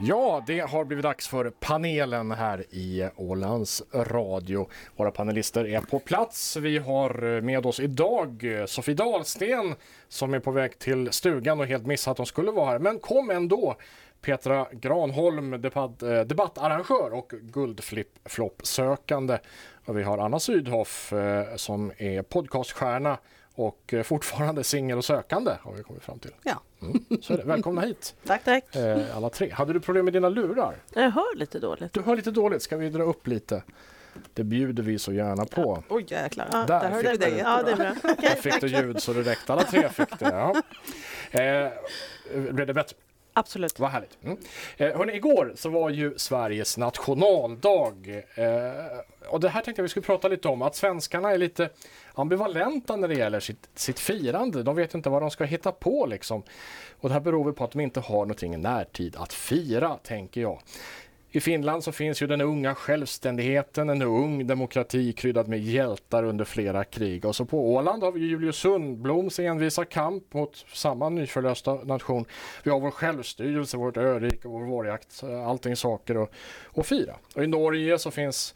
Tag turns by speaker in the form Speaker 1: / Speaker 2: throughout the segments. Speaker 1: Ja, det har blivit dags för panelen här i Ålands Radio. Våra panelister är på plats. Vi har eh, med oss idag eh, Sofie Dahlsten som är på väg till stugan och helt missat att hon skulle vara här, men kom ändå. Petra Granholm, debatt, eh, debattarrangör och guldflipp-flopp-sökande. Och Vi har Anna Sydhoff eh, som är podcaststjärna och eh, fortfarande singel och sökande har vi kommit fram till.
Speaker 2: Ja.
Speaker 1: Mm, så är det. Välkomna hit!
Speaker 2: Tack, tack.
Speaker 1: Eh, alla tre. Hade du problem med dina lurar?
Speaker 2: Jag hör lite dåligt.
Speaker 1: Du hör lite dåligt, ska vi dra upp lite? Det bjuder vi så gärna på.
Speaker 3: Oj jäklar.
Speaker 2: Ja,
Speaker 1: Där
Speaker 3: där
Speaker 1: fick
Speaker 3: hörde vi
Speaker 1: du
Speaker 3: dig
Speaker 1: det.
Speaker 2: Ja, det är bra.
Speaker 1: Där fick du ljud så det räckte, alla tre fick det. Ja. Eh, blev det bättre?
Speaker 2: Absolut.
Speaker 1: Vad härligt. Mm. Eh, hörni, igår så var ju Sveriges nationaldag. Eh, och det här tänkte jag vi skulle prata lite om, att svenskarna är lite ambivalenta när det gäller sitt, sitt firande. De vet inte vad de ska hitta på liksom. Och det här beror väl på att de inte har någonting i närtid att fira, tänker jag. I Finland så finns ju den unga självständigheten, en ung demokrati kryddad med hjältar under flera krig. Och så på Åland har vi ju Julius Sundbloms envisa kamp mot samma nyförlösta nation. Vi har vår självstyrelse, vårt örike, vår vårjakt, allting saker att- att fira. Och i Norge så finns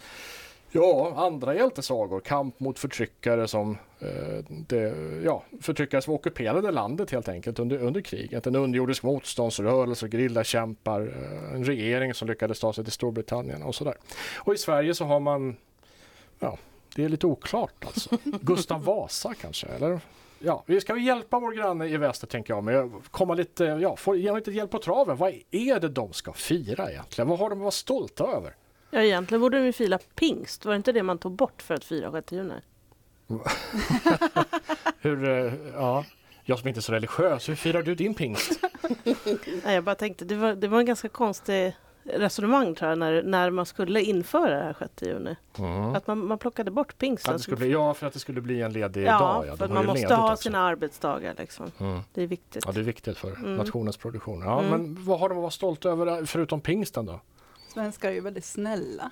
Speaker 1: Ja, andra hjältesagor. Kamp mot förtryckare som eh, det, ja, förtryckare som ockuperade landet helt enkelt under, under kriget. En underjordisk motståndsrörelse, gerillakämpar, eh, en regering som lyckades ta sig till Storbritannien och sådär. Och i Sverige så har man, ja, det är lite oklart alltså. Gustav Vasa kanske, eller? Ja, vi ska ju hjälpa vår granne i väster tänker jag, men komma lite, ja, få, ge dem lite hjälp på traven. Vad är det de ska fira egentligen? Vad har de att vara stolta över?
Speaker 2: Ja, egentligen borde de ju fira pingst. Var det inte det man tog bort för att fira 6 juni?
Speaker 1: Hur, eh, ja, jag som inte är så religiös, hur firar du din pingst?
Speaker 2: Nej, jag bara tänkte, det var, det var en ganska konstig resonemang tror jag, när, när man skulle införa det här 6 juni.
Speaker 1: Mm.
Speaker 2: Att man, man plockade bort
Speaker 1: Att
Speaker 2: pingsten.
Speaker 1: det skulle bli, ja, för att det skulle bli en ledig
Speaker 2: ja,
Speaker 1: dag. Ja, De
Speaker 2: för att
Speaker 1: har
Speaker 2: man
Speaker 1: ju
Speaker 2: måste
Speaker 1: ledigt
Speaker 2: ha
Speaker 1: också. Mm.
Speaker 2: sina Mm. arbetsdagar liksom. Det är viktigt.
Speaker 1: Ja, det är viktigt för nationens produktion. Ja,
Speaker 2: Mm.
Speaker 1: men vad har de att vara stolta över eh, förutom pingsten då?
Speaker 3: Svenskar är ju väldigt snälla.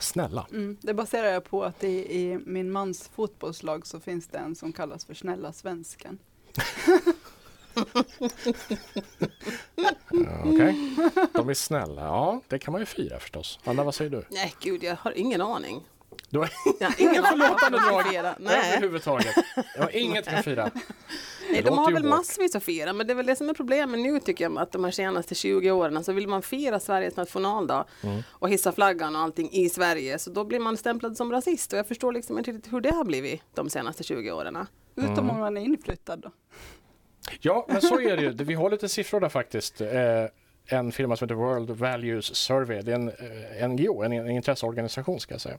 Speaker 1: Snälla.
Speaker 3: Mm. Det baserar jag på att i, i min mans fotbollslag så finns det en som kallas för Snälla svensken.
Speaker 1: Ja, Okej. De är snälla. Ja, det kan man ju fira förstås. Anna, vad säger du?
Speaker 4: Nej, gud, jag har ingen aning.
Speaker 1: Du har
Speaker 4: Jag har ingen
Speaker 1: Förlåtande drag.
Speaker 4: Fira. Nej.
Speaker 1: överhuvudtaget. Jag har inget att fira. Det
Speaker 4: Nej, de
Speaker 1: låter
Speaker 4: har
Speaker 1: ju
Speaker 4: väl
Speaker 1: hårt.
Speaker 4: massvis att fira, men det är väl det som är problemet nu tycker jag, att de här senaste 20 åren, så vill man fira Sveriges nationaldag
Speaker 1: Mm.
Speaker 4: och hissa flaggan och allting i Sverige, så då blir man stämplad som rasist och jag förstår liksom inte riktigt hur det har blivit de senaste 20 åren.
Speaker 3: Utom om man är inflyttad då.
Speaker 1: Ja, men så är det ju. Vi har lite siffror där faktiskt. Eh, en firma som heter World Values Survey. Det är en eh, NGO, en, en intresseorganisation ska jag säga.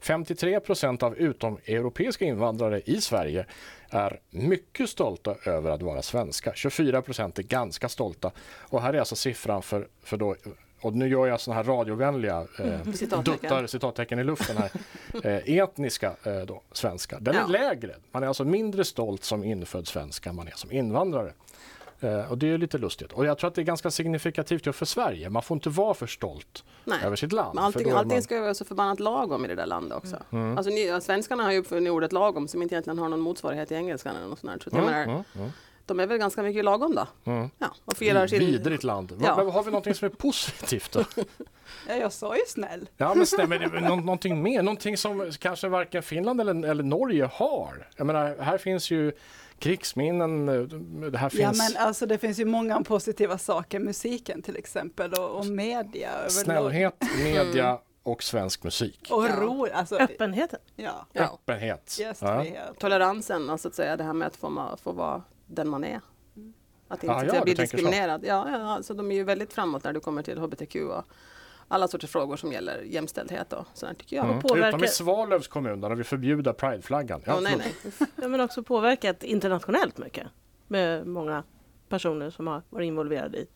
Speaker 1: 53 procent av utomeuropeiska invandrare i Sverige är mycket stolta över att vara svenska. 24 procent är ganska stolta. Och här är alltså siffran för, för då och nu gör jag sådana här radiovänliga eh,
Speaker 4: Citattecken.
Speaker 1: duttar citattecken i luften här. Eh, etniska eh, då, svenskar. Den
Speaker 4: Ja.
Speaker 1: är lägre. Man är alltså mindre stolt som infödd svensk än man är som invandrare. Eh, och det är ju lite lustigt. Och jag tror att det är ganska signifikativt just för Sverige. Man får inte vara för stolt
Speaker 4: Nej.
Speaker 1: över sitt land.
Speaker 4: Men
Speaker 1: för
Speaker 4: allting,
Speaker 1: då är
Speaker 4: allting ska ju vara så förbannat lagom i det där landet också.
Speaker 1: Mm.
Speaker 4: Alltså ni, ja, svenskarna har ju uppfunnit ordet lagom som inte egentligen har någon motsvarighet i engelskan eller något sånt där. Så att
Speaker 1: Mm.
Speaker 4: jag menar, De är väl ganska mycket lagom då. Ja, och firar
Speaker 1: man...
Speaker 4: sin...
Speaker 1: Mm. Vidrigt land. Va-
Speaker 4: Ja.
Speaker 1: Men har vi någonting som är positivt då?
Speaker 3: Ja, jag sa ju snäll.
Speaker 1: Ja men stämmer det nå- någonting mer? Någonting som kanske varken Finland eller, eller Norge har? Jag menar, här finns ju krigsminnen, eh, det här
Speaker 3: Ja
Speaker 1: finns...
Speaker 3: men alltså det finns ju många positiva saker, musiken till exempel och, och media överlag.
Speaker 1: Snällhet,
Speaker 4: Mm.
Speaker 1: media och svensk musik.
Speaker 3: Och ro, alltså
Speaker 2: Öppenheten.
Speaker 3: ja,
Speaker 4: Ja.
Speaker 1: Öppenhet. Ja.
Speaker 3: gästfrihet.
Speaker 4: Toleransen, alltså att säga det här med att få, ma- få vara den man är. Att inte
Speaker 1: Ah,
Speaker 4: så att
Speaker 1: ja,
Speaker 4: säga, bli
Speaker 1: du tänker så.
Speaker 4: diskriminerad. Ja, ja, alltså de är ju väldigt framåt när du kommer till hbtq och alla sorters frågor som gäller jämställdhet och sådant tycker jag.
Speaker 2: Och
Speaker 1: Utom i
Speaker 2: påverka,
Speaker 1: Svalövs kommun där de vill förbjuda prideflaggan. Mm. Ja,
Speaker 4: Åh, nej,
Speaker 1: förlåt.
Speaker 4: nej.
Speaker 2: ja, men också påverkat internationellt mycket. Med många personer som har varit involverade i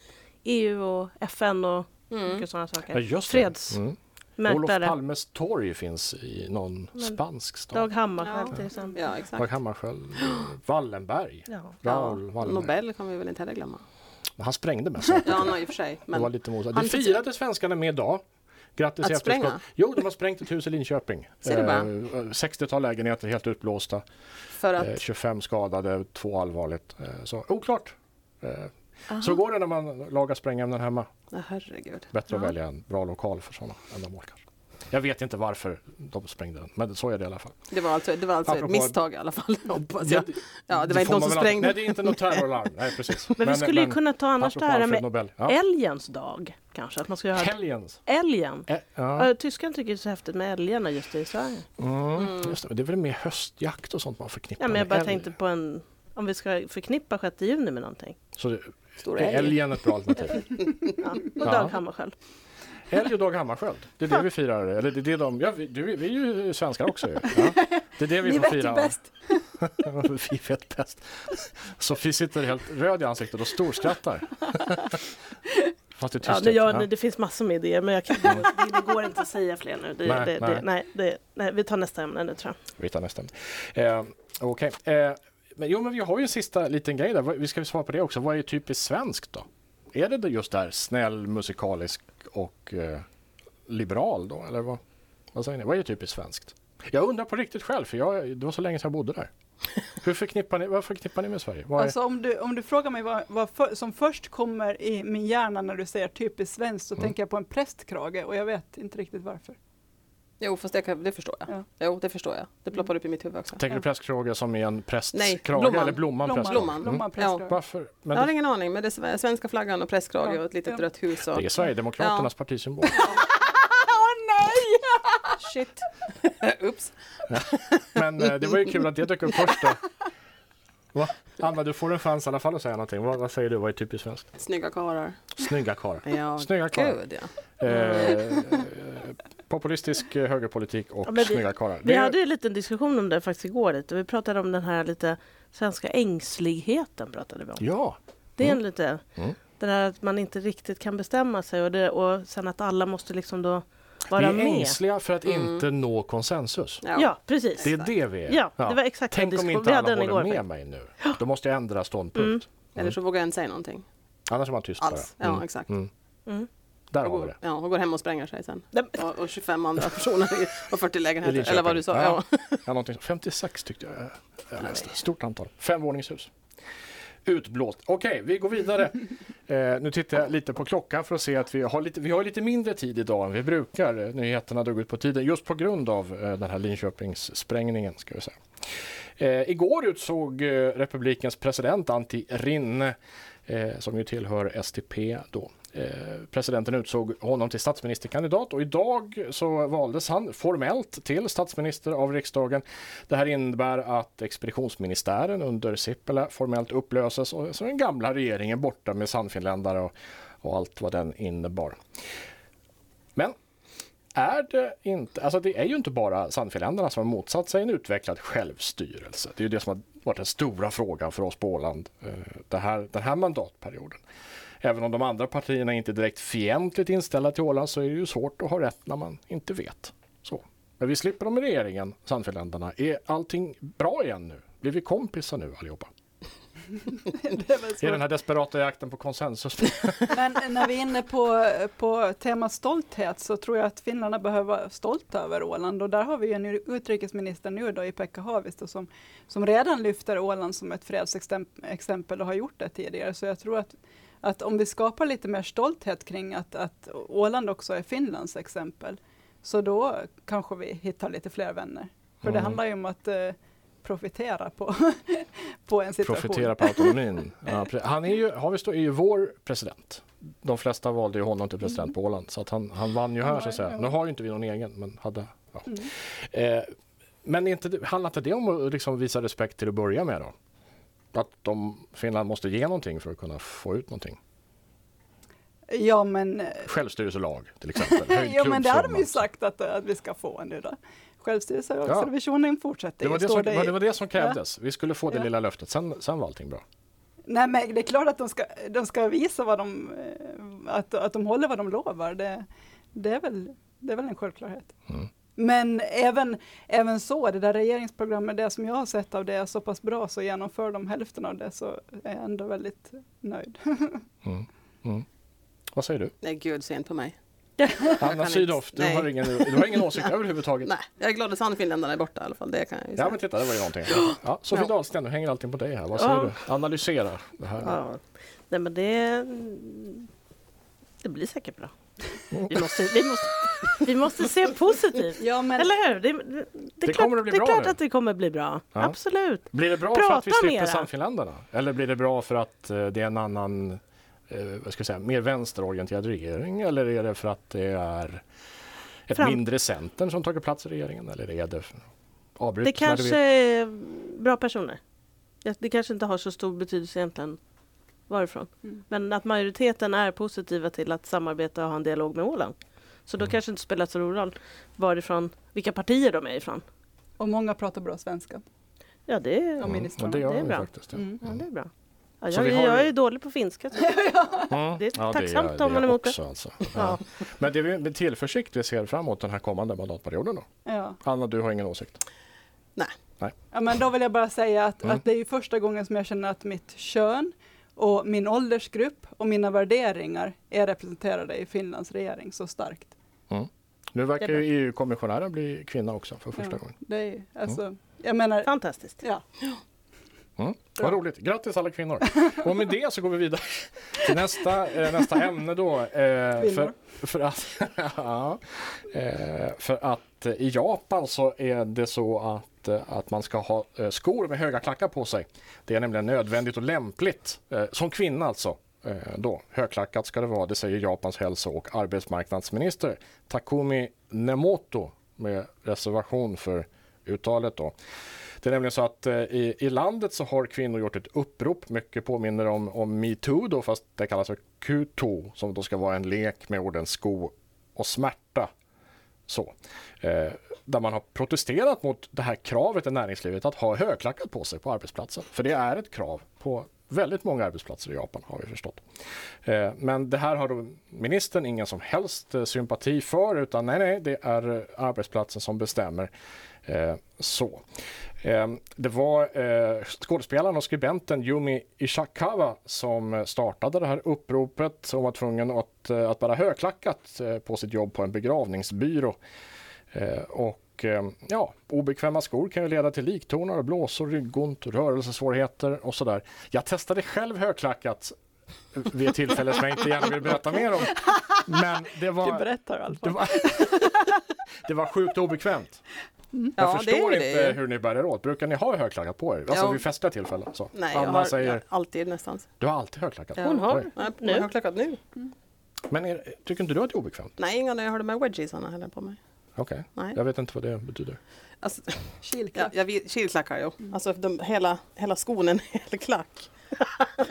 Speaker 2: EU och FN och
Speaker 4: Mm.
Speaker 2: mycket sådana saker.
Speaker 1: Ja, just det.
Speaker 2: Freds.
Speaker 1: Mm. Olof
Speaker 2: mätare.
Speaker 1: Palmes torg finns i någon spansk stad.
Speaker 2: Dag Hammarskjöld
Speaker 4: Ja.
Speaker 2: till exempel.
Speaker 4: Ja,
Speaker 1: Dag
Speaker 4: exakt.
Speaker 1: Hammarskjöld. Wallenberg.
Speaker 2: Ja.
Speaker 4: Ja,
Speaker 1: Raoul Wallenberg.
Speaker 4: Nobel kan vi väl inte heller glömma.
Speaker 1: Han sprängde med sig.
Speaker 4: Ja, no, i och för sig.
Speaker 1: Det var
Speaker 4: Men
Speaker 1: lite mot. Det
Speaker 4: Han-
Speaker 1: firade svenskarna med idag. Grattis
Speaker 4: Att
Speaker 1: i efterskott.
Speaker 4: spränga?
Speaker 1: Jo, de har sprängt ett hus i Linköping.
Speaker 4: Ser du bara?
Speaker 1: Eh, 60-tal lägenheter helt utblåsta.
Speaker 4: för
Speaker 1: Eh,
Speaker 4: att
Speaker 1: 25 skadade, två allvarligt. Eh, Så oklart. Eh, Så går det när man lagar sprängämnen hemma.
Speaker 4: Ja, herregud.
Speaker 1: Bättre att
Speaker 2: Ja.
Speaker 1: välja en bra lokal för sådana ändamål kanske. Jag vet inte varför de sprängde den, men så är det i alla fall.
Speaker 4: Det var alltså, det var alltså ett
Speaker 1: Apropå-
Speaker 4: misstag i alla fall, hoppas jag.
Speaker 1: Det-
Speaker 4: Ja, det var
Speaker 1: får
Speaker 4: inte
Speaker 1: man
Speaker 4: någon som
Speaker 1: väl alltid- Nej,
Speaker 4: sprängde.
Speaker 1: det är inte något terrorlarm. Nej, precis.
Speaker 2: Men, vi skulle ju kunna ta annars det
Speaker 1: apropå
Speaker 2: här
Speaker 1: Alfred
Speaker 2: med
Speaker 1: Nobel. Ja.
Speaker 2: älgens dag kanske. Att man ska göra
Speaker 1: Helgens.
Speaker 2: älgen.
Speaker 1: Ä- Ja.
Speaker 2: Ja. Tyskarna tycker det är så häftigt med älgarna just i Sverige.
Speaker 1: Mm. Just det, det är väl mer höstjakt och sånt man förknippar
Speaker 2: Ja, men jag
Speaker 1: med
Speaker 2: bara
Speaker 1: älg.
Speaker 2: tänkte på en, om vi ska förknippa 6 juni med någonting.
Speaker 1: Så det,
Speaker 4: Stora
Speaker 1: är
Speaker 4: älg.
Speaker 1: älgen ett bra alternativ?
Speaker 2: Ja. Och
Speaker 1: Ja.
Speaker 2: Dag Hammarskjöld.
Speaker 1: Älg och Dag Hammarskjöld. Det är det vi firar. Eller det är det de, ja, vi, du, vi är ju svenskar också. ju. Ja. Det är det vi
Speaker 4: Ni
Speaker 1: får
Speaker 4: vet ju
Speaker 1: fira.
Speaker 4: bäst.
Speaker 1: vi vet bäst. Sofie sitter helt röd i ansiktet och storskrattar. Fast det är
Speaker 2: Ja,
Speaker 1: tyst.
Speaker 2: nu,
Speaker 1: Ja.
Speaker 2: jag, nu, det finns massor med idéer men jag kan, det, det går inte att säga fler nu. Det,
Speaker 1: Nej,
Speaker 2: det,
Speaker 1: nej.
Speaker 2: Det, nej, det, nej, vi tar nästa ämne nu tror jag.
Speaker 1: Vi tar nästa. Eh, Okej. Eh, men, jo, men vi har ju en sista liten grej där. Vad- Vi ska väl svara på det också. Vad är typiskt svenskt då? Är det det just där snäll, musikalisk och eh, liberal då? Eller vad, vad säger ni? Vad är typiskt svenskt? Jag undrar på riktigt själv, för jag, det var så länge sedan jag bodde där. Hur förknippar ni, vad förknippar ni med Sverige? Vad är,
Speaker 3: Alltså om du, om du frågar mig vad, vad för, som först kommer i min hjärna när du säger typiskt svenskt så
Speaker 1: Mm.
Speaker 3: tänker jag på en prästkrage och jag vet inte riktigt varför.
Speaker 4: Jo, fast det, kan, det förstår jag.
Speaker 3: Ja.
Speaker 4: Jo, det förstår jag. Det ploppar upp i mitt huvud också.
Speaker 1: tänker du prästkrage som är en
Speaker 4: Nej,
Speaker 1: prästkrage?
Speaker 4: blomman.
Speaker 1: Eller blomman? prästkrage?
Speaker 4: Blomman.
Speaker 1: Mm.
Speaker 3: Blomman prästkrage.
Speaker 1: Varför? Men
Speaker 4: jag har
Speaker 1: det,
Speaker 4: ingen aning, men det är sve- svenska flaggan och prästkrage
Speaker 3: Ja,
Speaker 4: och ett litet
Speaker 3: ja.
Speaker 4: rött hus. Och...
Speaker 1: det är Sverigedemokraternas partisymbol.
Speaker 4: Shit. Ups.
Speaker 1: Men eh, det var ju kul att det dök upp först då. Va? Anna, du får en chans i alla fall att säga någonting. Vad, vad säger du? Vad är typiskt svenskt?
Speaker 4: Snygga karlar.
Speaker 1: Snygga karlar.
Speaker 4: Ja,
Speaker 1: Snygga karlar.
Speaker 4: gud ja.
Speaker 1: Eh, populistisk eh, högerpolitik och
Speaker 2: Mm. Ja, men vi-
Speaker 1: snygga karlar.
Speaker 2: Vi
Speaker 1: Det-
Speaker 2: hade ju en liten diskussion om det faktiskt igår lite. Vi pratade om den här lite svenska ängsligheten pratade vi om.
Speaker 1: Ja,
Speaker 2: Det är en lite,
Speaker 1: Mm.
Speaker 2: det där att man inte riktigt kan bestämma sig och, det, och sen att alla måste liksom då
Speaker 1: vi
Speaker 2: vara
Speaker 1: är
Speaker 2: med. Mm.
Speaker 1: ängsliga för att inte nå konsensus.
Speaker 4: Ja.
Speaker 2: Ja, precis.
Speaker 1: Det är det vi är.
Speaker 2: Ja, det var exakt den
Speaker 1: Tänk om
Speaker 2: diskussion-
Speaker 1: inte
Speaker 2: vi hade
Speaker 1: alla håller
Speaker 2: den igår Mm.
Speaker 1: med
Speaker 2: faktiskt.
Speaker 1: mig nu. Då måste jag ändra ståndpunkt.
Speaker 4: Eller så vågar jag inte säga någonting
Speaker 1: Annars är man tyst
Speaker 4: alls.
Speaker 1: bara.
Speaker 4: Ja,
Speaker 1: Mm.
Speaker 4: exakt.
Speaker 1: Mm. Där
Speaker 4: Och
Speaker 1: har vi
Speaker 4: går,
Speaker 1: det.
Speaker 4: ja, och går hem och spränger sig sen.
Speaker 2: Nej, men-
Speaker 4: Och, och 25 andra personer i- och 40
Speaker 1: I
Speaker 4: lägenheter.
Speaker 1: Linköping.
Speaker 4: Eller vad du sa. Ja.
Speaker 1: Ja, någonting. 56 tyckte jag eh, jag läste. Stort antal. Femvåningshus. Utblåst. Okej, vi går vidare. Eh, nu tittar jag lite på klockan för att se att vi har, lite, vi har lite mindre tid idag än vi brukar. Eh, Nyheterna drog ut på tiden just på grund av eh, den här Linköpingssprängningen. Ska vi säga. Eh, igår utsåg eh, republikens president Antti Rinne, eh, som ju tillhör STP då. Eh, presidenten utsåg honom till statsministerkandidat och idag så valdes han formellt till statsminister av riksdagen. Det här innebär att expeditionsministären under Sippelä formellt upplöses och så är den gamla regeringen borta med sannfinländare och, och allt vad den innebar. Men är det inte, alltså det är ju inte bara Sannfinländarna som har motsatt sig en utvecklad självstyrelse. Det är ju det som har varit den stora frågan för oss på Åland eh, det här, den här mandatperioden. Även om de andra partierna inte är direkt fientligt inställda till Åland så är det ju svårt att ha rätt när man inte vet. Så. Men vi slipper dem i regeringen, Sannfinländarna. Är allting bra igen nu? Blir vi kompisar nu allihopa?
Speaker 3: det är väl
Speaker 1: I
Speaker 3: svårt.
Speaker 1: den här desperata jakten på konsensus.
Speaker 3: Men när vi är inne på, på temat stolthet så tror jag att finnarna behöver vara stolta över Åland och där har vi ju en utrikesminister nu då i Pekka Haavisto som, som redan lyfter Åland som ett fredsexempel och har gjort det tidigare. Så jag tror att, att om vi skapar lite mer stolthet kring att, att Åland också är Finlands exempel så då kanske vi hittar lite fler vänner. För det
Speaker 1: Mm.
Speaker 3: handlar ju om att eh, profitera på, på en situation.
Speaker 1: Profitera på autonomin. Ja, pre- han är ju, Havisto är ju vår president. De flesta valde ju honom till
Speaker 3: Mm.
Speaker 1: president på Åland så att han, han vann ju här så att säga. Nu har ju inte vi någon egen men hade. Ja.
Speaker 3: Mm.
Speaker 1: Eh, men är inte, det- handlar inte det om att liksom visa respekt till att börja med då? Att de, Finland måste ge någonting för att kunna få ut någonting.
Speaker 3: Ja men eh,
Speaker 1: Självstyrelselag till exempel. Höjd
Speaker 3: Jo men det har de ju
Speaker 1: klubbsumma.
Speaker 3: sagt att, eh, att vi ska få nu då. Självstyrelse och
Speaker 1: Ja.
Speaker 3: Riksrevisionen fortsätter
Speaker 1: Det var
Speaker 3: ju,
Speaker 1: det,
Speaker 3: står
Speaker 1: som,
Speaker 3: det i-
Speaker 1: det var det som krävdes. Vi skulle få det
Speaker 3: Ja.
Speaker 1: lilla löftet. Sen, sen var allting bra.
Speaker 3: Nej men det är klart att de ska, de ska visa vad de, eh, att, att de håller vad de lovar. Det, det, är, väl, det är väl en självklarhet.
Speaker 1: Mm.
Speaker 3: Men även, även så, det där regeringsprogrammet, det som jag har sett av det är så pass bra så genomför de hälften av det så är jag ändå väldigt nöjd.
Speaker 1: Mm. Mm. Vad säger du?
Speaker 4: Nej, gud, se inte på mig.
Speaker 1: Anna
Speaker 4: inte-
Speaker 1: Sydow, du
Speaker 4: nej.
Speaker 1: har, ingen, du har ingen åsikt överhuvudtaget.
Speaker 4: Nej, jag är glad att Sannfinländarna är borta i alla fall. Det kan jag ju
Speaker 1: Ja
Speaker 4: säga.
Speaker 1: men titta, det var ju någonting. Ja, Sofie Dahlsten, nu hänger allting på dig här. Vad
Speaker 2: Ja.
Speaker 1: säger du? Analysera det här.
Speaker 2: Ja. Nej men det... Det blir säkert bra.
Speaker 1: Mm.
Speaker 2: Vi måste, vi måste, vi måste se positivt.
Speaker 3: Ja, men
Speaker 2: Eller hur? Det, det, det är
Speaker 1: kommer
Speaker 2: klart,
Speaker 1: att bli
Speaker 2: det är
Speaker 1: bra
Speaker 2: klart
Speaker 1: nu.
Speaker 2: att det kommer bli bra.
Speaker 1: Ja.
Speaker 2: Absolut.
Speaker 1: Blir det bra för
Speaker 2: Prata
Speaker 1: att vi slipper
Speaker 2: mera.
Speaker 1: Sannfinländarna? Eller blir det bra för att eh, det är en annan, eh, vad ska jag säga, mer vänsterorienterad regering? Eller är det för att det är ett
Speaker 2: Fram-
Speaker 1: mindre Centern som tagit plats i regeringen? Eller är det... för- Avbryt
Speaker 2: Det
Speaker 1: när du
Speaker 2: kanske
Speaker 1: vill.
Speaker 2: är bra personer. Det, det kanske inte har så stor betydelse egentligen varifrån.
Speaker 3: Mm.
Speaker 2: Men att majoriteten är positiva till att samarbeta och ha en dialog med Åland. Så
Speaker 1: Mm.
Speaker 2: då kanske det inte spelar så stor roll varifrån, vilka partier de är ifrån.
Speaker 3: Och många pratar bra svenska.
Speaker 2: Ja, det,
Speaker 3: Ja,
Speaker 1: Mm,
Speaker 3: ministrarna.
Speaker 1: och det gör
Speaker 2: Det är
Speaker 1: de ju
Speaker 2: bra.
Speaker 1: faktiskt. Ja.
Speaker 3: Mm.
Speaker 2: ja, det är bra. Ja,
Speaker 1: Så
Speaker 2: jag,
Speaker 1: vi har-
Speaker 2: jag är dålig på finska. så-
Speaker 1: Mm.
Speaker 2: Det är
Speaker 1: Ja,
Speaker 2: tacksamt
Speaker 1: gör- det
Speaker 2: om man
Speaker 1: gör
Speaker 2: är emot det.
Speaker 1: också, Alltså. Ja.
Speaker 2: Ja.
Speaker 1: Men det är med tillförsikt vi ser fram emot den här kommande mandatperioden. Då.
Speaker 3: Ja.
Speaker 1: Anna, du har ingen åsikt?
Speaker 3: Ja, men då vill jag bara säga att,
Speaker 1: Mm.
Speaker 3: att det är ju första gången som jag känner att mitt kön och min åldersgrupp och mina värderingar är representerade i Finlands regering så starkt.
Speaker 1: Nu verkar
Speaker 2: Det är
Speaker 1: ju EU-kommissionären bli kvinna också för första
Speaker 3: Ja.
Speaker 1: gången.
Speaker 3: Det är, alltså, Jag menar,
Speaker 2: Fantastiskt.
Speaker 3: ja.
Speaker 1: Mm. Vad roligt. Grattis alla kvinnor. Och med det så går vi vidare till nästa, eh, nästa ämne då. Eh, för,
Speaker 3: Kvinnor.
Speaker 1: för att, ja, eh, för att eh, i Japan så är det så att, eh, att man ska ha eh, skor med höga klackar på sig. Det är nämligen nödvändigt och lämpligt. Eh, som kvinna alltså. Eh, då. Högklackat ska det vara, det säger Japans hälso och arbetsmarknadsminister Takumi Nemoto med reservation för uttalet då. Det är nämligen så att eh, i, i landet så har kvinnor gjort ett upprop. Mycket påminner om, om metoo då, fast det kallas för kuto som då ska vara en lek med orden sko och smärta. Så. Eh, där man har protesterat mot det här kravet i näringslivet att ha högklackat på sig på arbetsplatsen. För det är ett krav på väldigt många arbetsplatser i Japan har vi förstått. Eh, men det här har då ministern ingen som helst eh, sympati för utan nej, nej, det är eh, arbetsplatsen som bestämmer. Eh, så. Eh, det var eh, skådespelaren och skribenten Yumi Ishikawa som eh, startade det här uppropet. Hon var tvungen att, eh, att bära högklackat eh, på sitt jobb på en begravningsbyrå. Eh, och eh, ja, obekväma skor kan ju leda till liktornar och blåsor, ryggont, rörelsesvårigheter och sådär. Jag testade själv högklackat vid ett tillfälle som jag inte gärna vill berätta mer om. Men det
Speaker 3: Du
Speaker 1: var,
Speaker 3: berättar allt.
Speaker 1: det var, det var sjukt obekvämt. Jag
Speaker 4: Ja, det är
Speaker 1: förstår
Speaker 4: ju
Speaker 1: inte
Speaker 4: det.
Speaker 1: hur ni bär er åt. Brukar ni ha högklackat på er? Alltså
Speaker 4: Ja.
Speaker 1: vid festliga tillfällen? Så.
Speaker 4: Nej, jag
Speaker 1: Anna
Speaker 4: har
Speaker 1: säger,
Speaker 4: jag, alltid nästan.
Speaker 1: du har alltid högklackat.
Speaker 4: Ja.
Speaker 2: Hon
Speaker 1: Oj.
Speaker 2: har
Speaker 4: Nej,
Speaker 2: Nu?
Speaker 4: jag har klackat nu.
Speaker 1: Men är, tycker inte du att det är obekvämt?
Speaker 4: Nej, inga när jag har de här wedgiesarna heller på mig.
Speaker 1: Okej,
Speaker 4: Nej.
Speaker 1: jag vet inte vad det betyder.
Speaker 4: Alltså, ja,
Speaker 3: Kilklack.
Speaker 4: jag vet- kilklackar ju. Alltså de, hela, hela skon är en hel klack.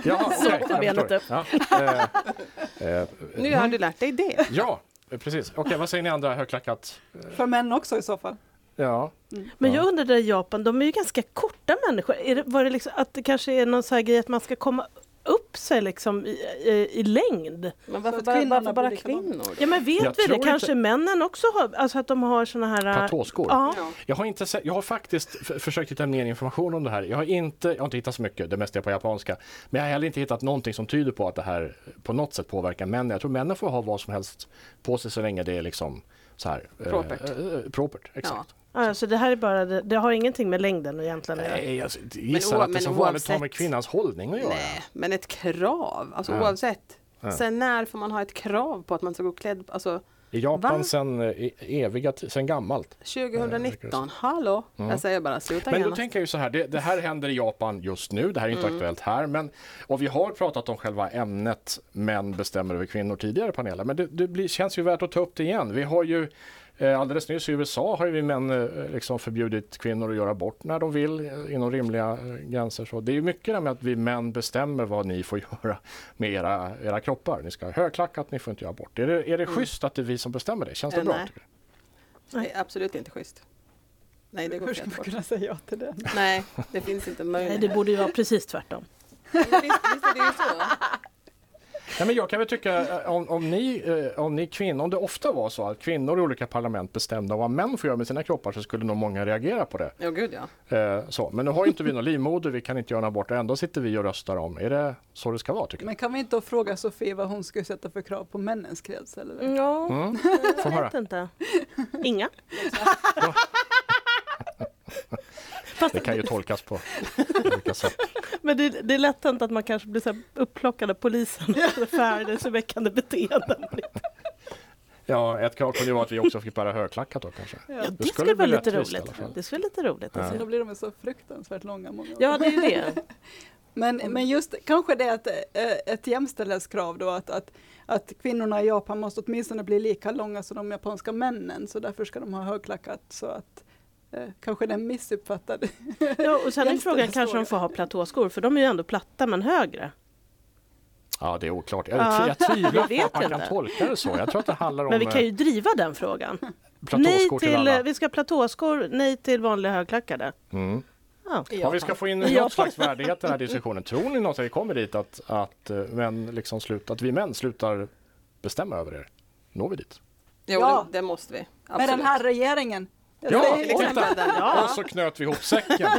Speaker 1: Jaha, okej,
Speaker 2: åkte
Speaker 1: jag
Speaker 2: benet
Speaker 1: förstår.
Speaker 2: upp.
Speaker 1: Ja, eh, eh,
Speaker 4: Nu har du lärt dig det.
Speaker 1: ja, eh, precis. Okej, vad säger ni andra högklackat?
Speaker 3: För män också i så fall.
Speaker 1: Ja,
Speaker 2: Men
Speaker 1: Ja.
Speaker 2: jag undrar, där i Japan, de är ju ganska korta människor. Är det, var det liksom, att det kanske är någon så här grej att man ska komma upp sig liksom i, i, i längd?
Speaker 4: Men
Speaker 3: Så
Speaker 4: varför
Speaker 3: att
Speaker 4: bara,
Speaker 3: kvinnorna
Speaker 4: varför bara
Speaker 3: blir likadana.
Speaker 4: kvinnor?
Speaker 2: Ja men vet
Speaker 1: Jag
Speaker 2: vi
Speaker 1: tror
Speaker 2: det?
Speaker 1: inte-
Speaker 2: Kanske männen också har, alltså att de har såna här... äh,
Speaker 1: platåskor.
Speaker 2: Ja.
Speaker 4: Ja.
Speaker 1: Jag har, inte sett, jag har faktiskt f- försökt hitta mer information om det här. Jag har, inte, jag har inte hittat så mycket, det mesta är på japanska. Men jag har heller inte hittat någonting som tyder på att det här på något sätt påverkar männen. Jag tror männen får ha vad som helst på sig så länge det är liksom så här. eh,
Speaker 4: Propert.
Speaker 1: eh, propert, exakt.
Speaker 2: Ja, så det här är bara, det, det har ingenting med längden egentligen att göra.
Speaker 1: Nej, jag gissar
Speaker 4: Men oa-
Speaker 1: att det
Speaker 4: men
Speaker 1: som vanligt har med
Speaker 4: oavsett-
Speaker 1: kvinnans hållning att göra.
Speaker 4: Nej, men ett krav. Alltså
Speaker 1: Ja.
Speaker 4: oavsett.
Speaker 1: Ja.
Speaker 4: Sen när får man ha ett krav på att man ska gå klädd? Alltså
Speaker 1: I Japan
Speaker 4: Va?
Speaker 1: sen eh, e- eviga, ti- sen gammalt.
Speaker 4: 2019, hallå? Jag säger bara sluta Mm.
Speaker 1: Men då
Speaker 4: gärna.
Speaker 1: tänker jag ju så här, det, det här händer i Japan just nu, det här är inte aktuellt här, men, och vi har pratat om själva ämnet män bestämmer över kvinnor tidigare i panelen, men det, det blir, känns ju värt att ta upp det igen. Vi har ju eh, alldeles nyss i USA har ju vi män eh, liksom förbjudit kvinnor att göra abort när de vill eh, inom rimliga eh, gränser. Så det är ju mycket det här med att vi män bestämmer vad ni får göra med era, era kroppar. Ni ska ha högklackat, ni får inte göra abort. Är det, är det schysst att det är vi som bestämmer det? Känns det
Speaker 4: Mm. Eh,
Speaker 1: bra?
Speaker 4: nej.
Speaker 1: tycker du?
Speaker 4: Det är absolut inte schysst. Nej, det går
Speaker 3: Hur ska
Speaker 4: fel
Speaker 3: man
Speaker 4: bort.
Speaker 3: kunna säga ja till det?
Speaker 4: Nej, det finns inte
Speaker 2: Nej,
Speaker 4: möjlighet.
Speaker 2: det borde ju vara precis tvärtom.
Speaker 4: Men Visst, visst är det ju så.
Speaker 1: Nej, men jag kan väl tycka eh, om, om, ni, eh, om ni kvinnor, om det ofta var så att kvinnor i olika parlament bestämde vad män får göra med sina kroppar så skulle nog många reagera på det.
Speaker 4: Ja, gud ja.
Speaker 1: Eh, så. Men nu har ju inte vi någon livmoder, vi kan inte göra något bort och ändå sitter vi och röstar om. Är det så det ska vara tycker du?
Speaker 3: Men kan vi inte då fråga Sofie vad hon skulle sätta för krav på männens krets? Eller?
Speaker 2: Ja,
Speaker 1: Mm. Få
Speaker 2: jag
Speaker 1: höra.
Speaker 2: vet inte. Inga.
Speaker 1: Det kan ju tolkas på olika sätt.
Speaker 2: Men det, det är lätt hänt att man kanske blir så här upplockad av polisen för förfärdelseväckande beteenden.
Speaker 1: Ja, ett krav kunde ju vara att vi också fick bära högklackat då kanske.
Speaker 2: Ja, det,
Speaker 1: skulle
Speaker 2: skulle
Speaker 1: bli
Speaker 2: vara lite
Speaker 1: rättvist i alla
Speaker 2: roligt.
Speaker 1: fall.
Speaker 2: Det skulle vara lite roligt.
Speaker 1: Ja.
Speaker 3: Så
Speaker 2: Alltså.
Speaker 3: då blir de ju så fruktansvärt långa många år.
Speaker 2: Ja, det är ju det.
Speaker 3: Men, men just kanske det är ett, eh, ett jämställdhetskrav då att, att, att kvinnorna i Japan måste åtminstone bli lika långa som de japanska männen så därför ska de ha högklackat så att eh, kanske den missuppfattade.
Speaker 2: Ja, och sen är frågan kanske
Speaker 3: Jämställdhetsfråga.
Speaker 2: de får ha platåskor, för de är ju ändå platta men högre.
Speaker 1: Ja, det är oklart. Jag,
Speaker 2: Ja.
Speaker 1: jag tvivlar
Speaker 2: Vi
Speaker 1: på att
Speaker 2: vet
Speaker 1: man kan
Speaker 2: inte.
Speaker 1: tolka det så. Jag tror att det handlar om
Speaker 2: Men vi kan
Speaker 1: eh,
Speaker 2: ju driva den frågan. Nej
Speaker 1: platåskor till
Speaker 2: till, eh,
Speaker 1: alla.
Speaker 2: vi ska ha platåskor, nej till vanliga högklackade.
Speaker 1: Mm.
Speaker 2: Ja.
Speaker 1: Om vi ska få in
Speaker 2: Ja.
Speaker 1: något slags värdighet i den här diskussionen, tror ni någonsin vi kommer dit att, att, eh, män liksom slut, att vi män slutar bestämma över er? Når vi dit?
Speaker 4: Jo,
Speaker 3: Ja.
Speaker 4: det, det måste vi.
Speaker 3: Med
Speaker 4: Absolut.
Speaker 3: den här regeringen. Jag
Speaker 1: Ja,
Speaker 3: säger- liksom
Speaker 1: exakt. titta!
Speaker 2: Ja.
Speaker 1: Och så knöt vi ihop säcken.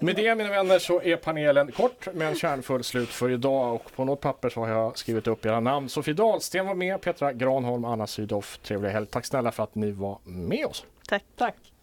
Speaker 1: Med det mina vänner så är panelen kort men kärnfull slut för idag och på något papper så har jag skrivit upp era namn. Sofie Dahlsten var med, Petra Granholm, Anna Sydow. Trevlig helg. Tack snälla för att ni var med oss.
Speaker 2: Tack.
Speaker 3: Tack.